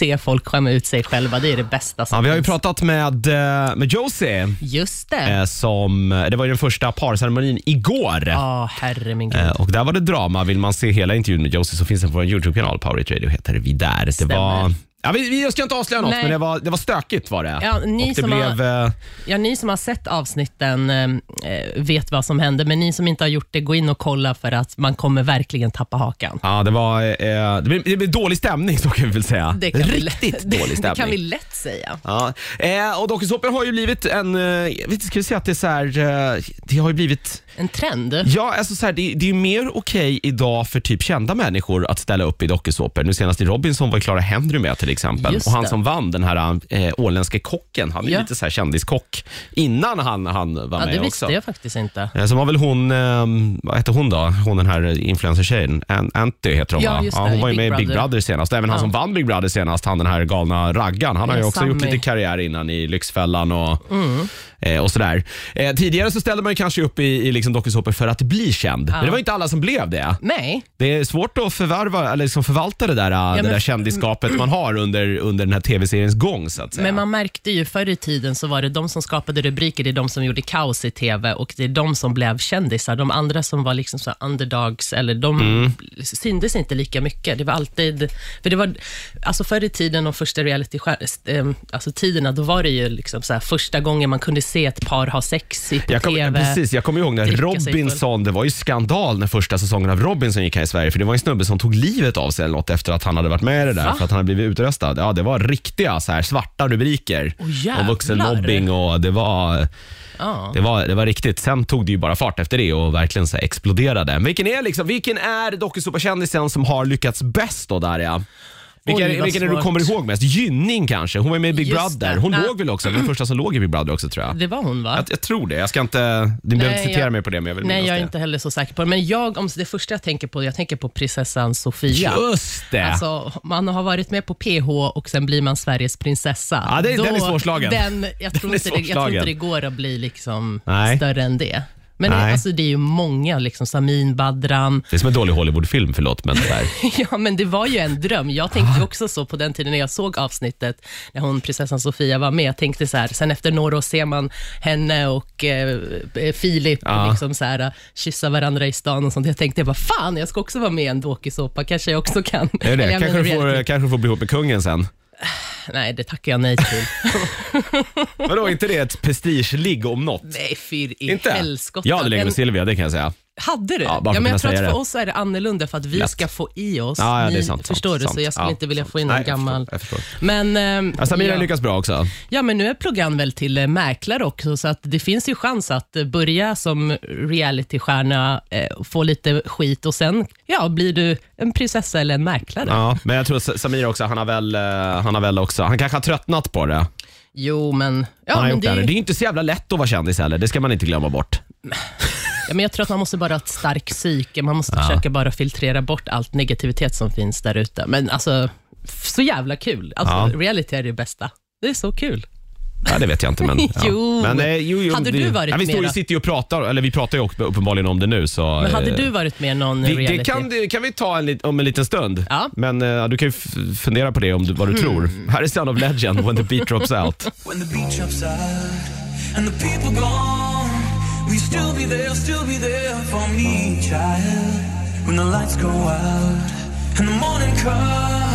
se folk skämma ut sig själva, det är det bästa som Ja, vi har ju finns. pratat med, eh, med Josie, Just det. eh, som, det var ju den första parceremonin igår. Ja, herre min gud. Eh, Och där var det drama. Vill man se hela intervjun med Josie så finns den på vår YouTube-kanal, Power Hit Radio heter vi där. Det Stämmer. var, ja, vi, vi- jag ska inte avslöja något, Nej. men det var, det var stökigt var det. Ja, ni och det som har- blev, eh, Ja, ni som har sett avsnitten eh, eh, vet vad som hände, men ni som inte har gjort det, gå in och kolla för att man kommer verkligen tappa hakan. ja, det, var, eh, det, blev, det blev dålig stämning, så kan vi väl säga. Det kan vi lätt- Riktigt dålig stämning. Det kan vi lätt säga. Ja, eh, och dokusåpor har ju blivit en, eh, jag vet inte, ska vi säga att det är så här, eh, det har ju blivit, En trend. ja alltså så här, det, det är ju mer okej idag för typ kända människor att ställa upp i dokusåpor. Nu senast i Robinson var ju Clara Henry med till exempel Just och han det. som vann, den här eh, åländske kocken, han är ju Ja. lite så här kändiskock innan han, han var Ja, med det visste också. jag faktiskt inte. Eh, Så var väl hon, eh, vad hette hon då? Hon den här influencer-tjejen, An- Anty heter hon Ja, va? just Ja, det, hon i var ju Big med i Big Brother. Brother senast. Även han Ja. som vann Big Brother senast, han den här galna raggan, han har ju Ja, också Sammy. gjort lite karriär innan i Lyxfällan och, Mm. eh, och sådär. Eh, tidigare så ställde man ju kanske upp i, i liksom dokusåpor för att bli känd, men det var inte alla som blev det. Nej, Det är svårt att förvärva, eller liksom förvalta det där, eh, det men- där kändiskapet man har under, under den här tv-seriens gång så att säga. men man märkte ju förr i tiden så var det de som skapade rubriker, det är de som gjorde kaos i TV och det är de som blev kändisar. De andra som var liksom så här underdogs, eller de Mm. syndes inte lika mycket. Det var alltid... För det var, alltså förr i tiden, de första reality alltså tiderna, då var det ju liksom så här, första gången man kunde se ett par ha sex i på Jag kommer, TV. precis, jag kommer ihåg när dricka sig Robinson, det var ju skandal när första säsongen av Robinson gick här i Sverige. För det var en snubbe som tog livet av sig eller något efter att han hade varit med i det där. Va? För att han hade blivit utröstad. Ja, det var riktiga så här, svarta rubriker. Åh, jävlar. om vuxenmobbing och det var, Ja. det, var, det var riktigt. Sen tog det ju bara fart efter det och verkligen så här, exploderade. Men Vilken är, liksom, vilken är dokusåpakändisen som har lyckats bäst då Darja? Vilken, Oj, vad vilken är det du svårt. kommer ihåg mest? Gynning kanske? Hon var ju med i Big Just Brother. det. Hon Ja. låg väl också, den första som låg i Big Brother också tror jag. Det var hon, va? Jag, jag tror det. Jag ska inte, ni behöver inte Nej, citera jag- mig på det, men jag vill Nej, minnas jag är det. inte heller så säker på det. Men jag, om det första jag tänker på, jag tänker på prinsessan Sofia. Just det! Alltså, man har varit med på PH och sen blir man Sveriges prinsessa. Ja, det- den är svårslagen. Den, jag, tror är inte det, jag tror svårslagen. inte det går att bli liksom Nej. större än det. Men Nej. alltså, det är ju många, liksom Samin Badran. det är som en dålig Hollywoodfilm, förlåt, men det där. Ja, men det var ju en dröm. Jag tänkte ju också så på den tiden när jag såg avsnittet, när hon, prinsessan Sofia var med. Jag tänkte så här, sen efter några år ser man henne och eh, eh, Filip Ja. liksom så här, eh, kyssa varandra i stan och sånt. Jag tänkte bara, fan, jag ska också vara med i en dokusåpa. Kanske jag också kan. Är det Eller jag det? Kanske, menar du får, reality. kanske du får bli ihop med kungen sen. Nej, det tackar jag nej till. Vadå, inte det ett prestigeligg om något? nej, fyr i inte? helskotta. Jag hade längre Men- med Silvia, det kan jag säga. Hade du? Ja, Ja, bara för men jag att kunna tror att för säga det. oss är det annorlunda för att vi Lätt. ska få i oss. Ja, ja, det är Ni- sant, sant, förstår du? sant. Så jag skulle Ja, inte vilja sant. få in någon Nej, jag gammal... förstår, jag förstår. Men... ehm, Ja, Samira ja. lyckas bra också. Ja, men nu är pluggan väl till eh, mäklare också, så att det finns ju chans att eh, börja som realitystjärna, eh, få lite skit och sen ja, blir du en prinsessa eller en mäklare. Ja, men jag tror att Samira också, han har väl, eh, han har väl också, han kanske har tröttnat på det. Jo, men... Ja, han har men gjort det, det, här. det är ju inte så jävla lätt att vara kändis heller, det ska man inte glömma bort. ja, men jag tror att man måste bara ha ett starkt psyke. Man måste försöka bara filtrera bort allt negativitet som finns där ute. Men alltså, f- så jävla kul. Alltså, Ja. reality är det bästa. Det är så kul. Ja, det vet jag inte. Men, ja. Jo. men, eh, jo, jo Hade det, du varit ja, Vi står ju mera- sitter ju och pratar, eller vi pratar ju upp- uppenbarligen om det nu. Så, Men hade eh, du varit med i någon Det, reality? det, kan, det kan vi ta en, lit- om en liten stund. Ja. Men eh, du kan ju f- fundera på det om du, vad du tror. Här är Sound of Legend, When the beat drops out. When the beach drops out and the people gone, will you still be there, still be there for me, child? When the lights go out and the morning comes.